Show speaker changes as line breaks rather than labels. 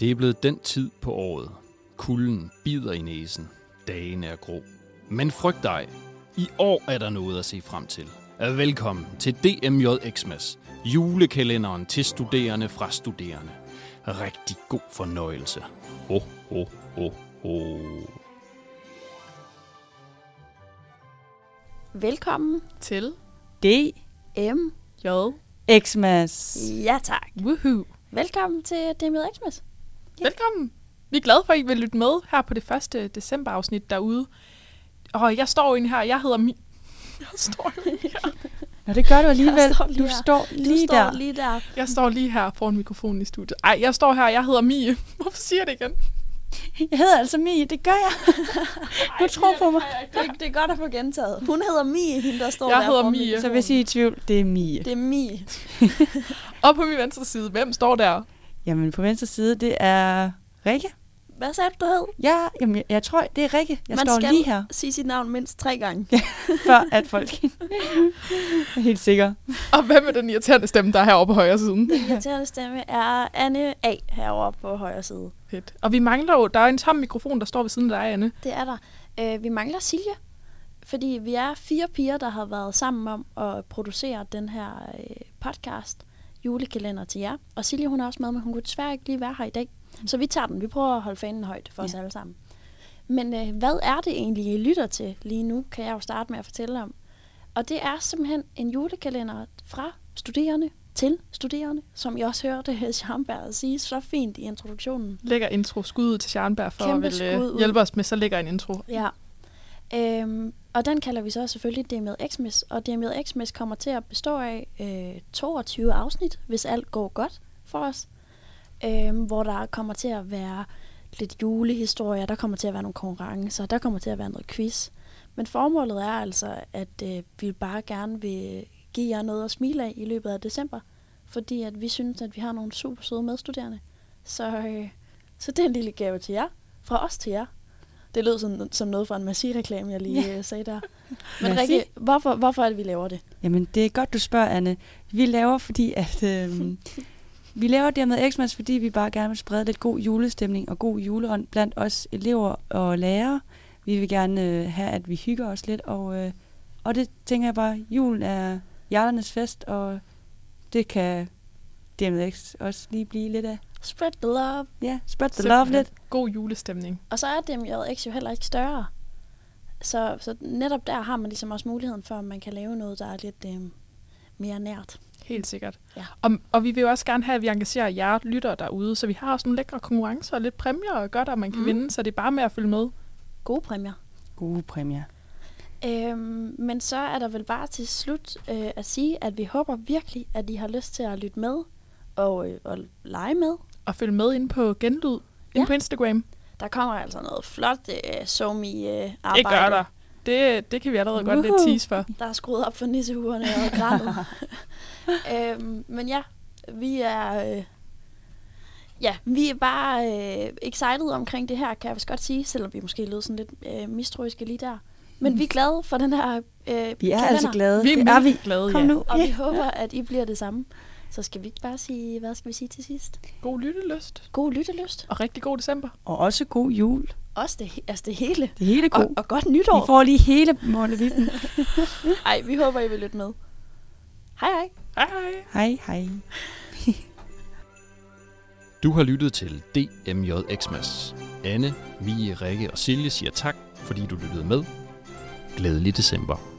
Det er blevet den tid på året. Kulden bider i næsen. Dagen er grå. Men frygt dig. I år er der noget at se frem til. Velkommen til DMJ Xmas. Julekalenderen til studerende fra studerende. Rigtig god fornøjelse. Ho, ho, ho, ho.
Velkommen
til
D.
M.
J.
Xmas.
Ja tak.
Woohoo.
Velkommen til det med Xmas.
Velkommen. Vi er glade for, at I vil lytte med her på det første decemberafsnit derude. Og jeg står jo inde her, jeg hedder Mi... Jeg står, jo,
Nå, det gør du alligevel.
Jeg står lige
Du
her.
står lige
du står
der.
lige der.
jeg står lige her foran mikrofonen i studiet. Ej, jeg står her, jeg hedder Mie. Hvorfor siger jeg det igen?
Jeg hedder altså Mie, det gør jeg. Du tror på mig.
Det, det er godt at få gentaget. Hun hedder Mie, hende der står
Jeg
der.
hedder
foran
Mie.
mikrofonen.
Så hvis I er i tvivl, det er Mie.
Det er Mie.
Og på min venstre side, hvem står der?
Jamen, på venstre side, det er Rikke.
Hvad sagde du, du hed?
Ja, jamen, jeg, jeg tror, det er Rikke. Jeg
Man
står
skal
lige her,
sige sit navn mindst tre gange.
før at folk er helt sikre.
Og hvem er den irriterende stemme, der er herovre på højre siden?
Den irriterende stemme er Anne A. herovre på højre side.
Fedt. Og vi mangler jo, der er en tom mikrofon, der står ved siden af dig, Anne.
Det er der. Øh, vi mangler Silje, fordi vi er fire piger, der har været sammen om at producere den her øh, podcast, julekalender til jer. Og Silje, hun er også med, men hun kunne desværre ikke lige være her i dag. Så vi tager den. Vi prøver at holde fanen højt for ja. os alle sammen. Men øh, hvad er det egentlig, I lytter til lige nu, kan jeg jo starte med at fortælle om. Og det er simpelthen en julekalender fra studerende til studerende, som I også hørte Schamberg sige så fint i introduktionen.
Lækker intro. Skud ud til Sjarnberg for
Kæmpe
at vil,
skud ud.
øh, hjælpe os med så lækker en intro.
Ja. Øhm, og den kalder vi så selvfølgelig Det med Xmas, og Det med Xmas kommer til at bestå af øh, 22 afsnit, hvis alt går godt for os. Øhm, hvor der kommer til at være lidt julehistorier, der kommer til at være nogle konkurrencer, der kommer til at være noget quiz. Men formålet er altså, at øh, vi bare gerne vil give jer noget at smile af i løbet af december, fordi at vi synes, at vi har nogle super søde medstuderende. Så, øh, så det er en lille gave til jer, fra os til jer. Det lød som, som noget fra en Massi-reklame, jeg lige ja. sagde der. Men
Merci.
Rikke, hvorfor, hvorfor er det, vi laver det?
Jamen, det er godt, du spørger, Anne. Vi laver, fordi at... Øhm, vi laver dermed Xmas, fordi vi bare gerne vil sprede lidt god julestemning og god juleånd blandt os elever og lærere. Vi vil gerne øh, have, at vi hygger os lidt, og, øh, og det tænker jeg bare, julen er hjerternes fest, og det kan dermed X også lige blive lidt af.
Spread the love.
Ja, yeah, spread the love
Simpelthen.
lidt.
God julestemning.
Og så er DMJX jo heller ikke større. Så, så netop der har man ligesom også muligheden for, at man kan lave noget, der er lidt øh, mere nært.
Helt sikkert.
Ja.
Og, og vi vil jo også gerne have, at vi engagerer jer lyttere derude, så vi har også nogle lækre konkurrencer og lidt præmier og godt, at man kan
Mm.
Mhm.
mm. vinde, så det er bare med at følge med.
Gode præmier.
Gode præmier.
Øhm, men så er der vel bare til slut øh, at sige, at vi håber virkelig, at I har lyst til at lytte med og, øh, og lege med.
Og følge med inde på Genlyd, inde
Ja.
på Instagram.
Der kommer altså noget flot øh, somi-arbejde. Øh,
Det gør
arbejde.
der. Det, det kan vi allerede godt lidt
Woohoo.
tease for.
der er skruet op for nissehurene og grænet. øhm, men ja, vi er... Øh, ja, vi er bare øh, excited omkring det her, kan jeg vist godt sige, selvom vi måske lød sådan lidt øh, mistroiske lige der. Men vi er glade for den her øh,
Mm. Vi er
kalender,
altså glade.
Vi er
det er vi.
mega glade,
Kom
ja.
nu.
og vi
Ja.
håber, at I bliver det samme. Så skal vi ikke bare sige, hvad skal vi sige til sidst?
God lyttelyst,
God lyttelyst.
og rigtig god december.
Og også god jul.
Også det, he- altså det hele.
Det hele
Og,
god.
og godt
Vi
nytår.
får lige hele målevitten.
Ej, vi håber, I vil lytte med. Hej hej.
Hej hej.
hej, hej.
Du har lyttet til DMJ Xmas. Anne, Mie, Rikke og Silje siger tak, fordi du lyttede med. Glædelig december.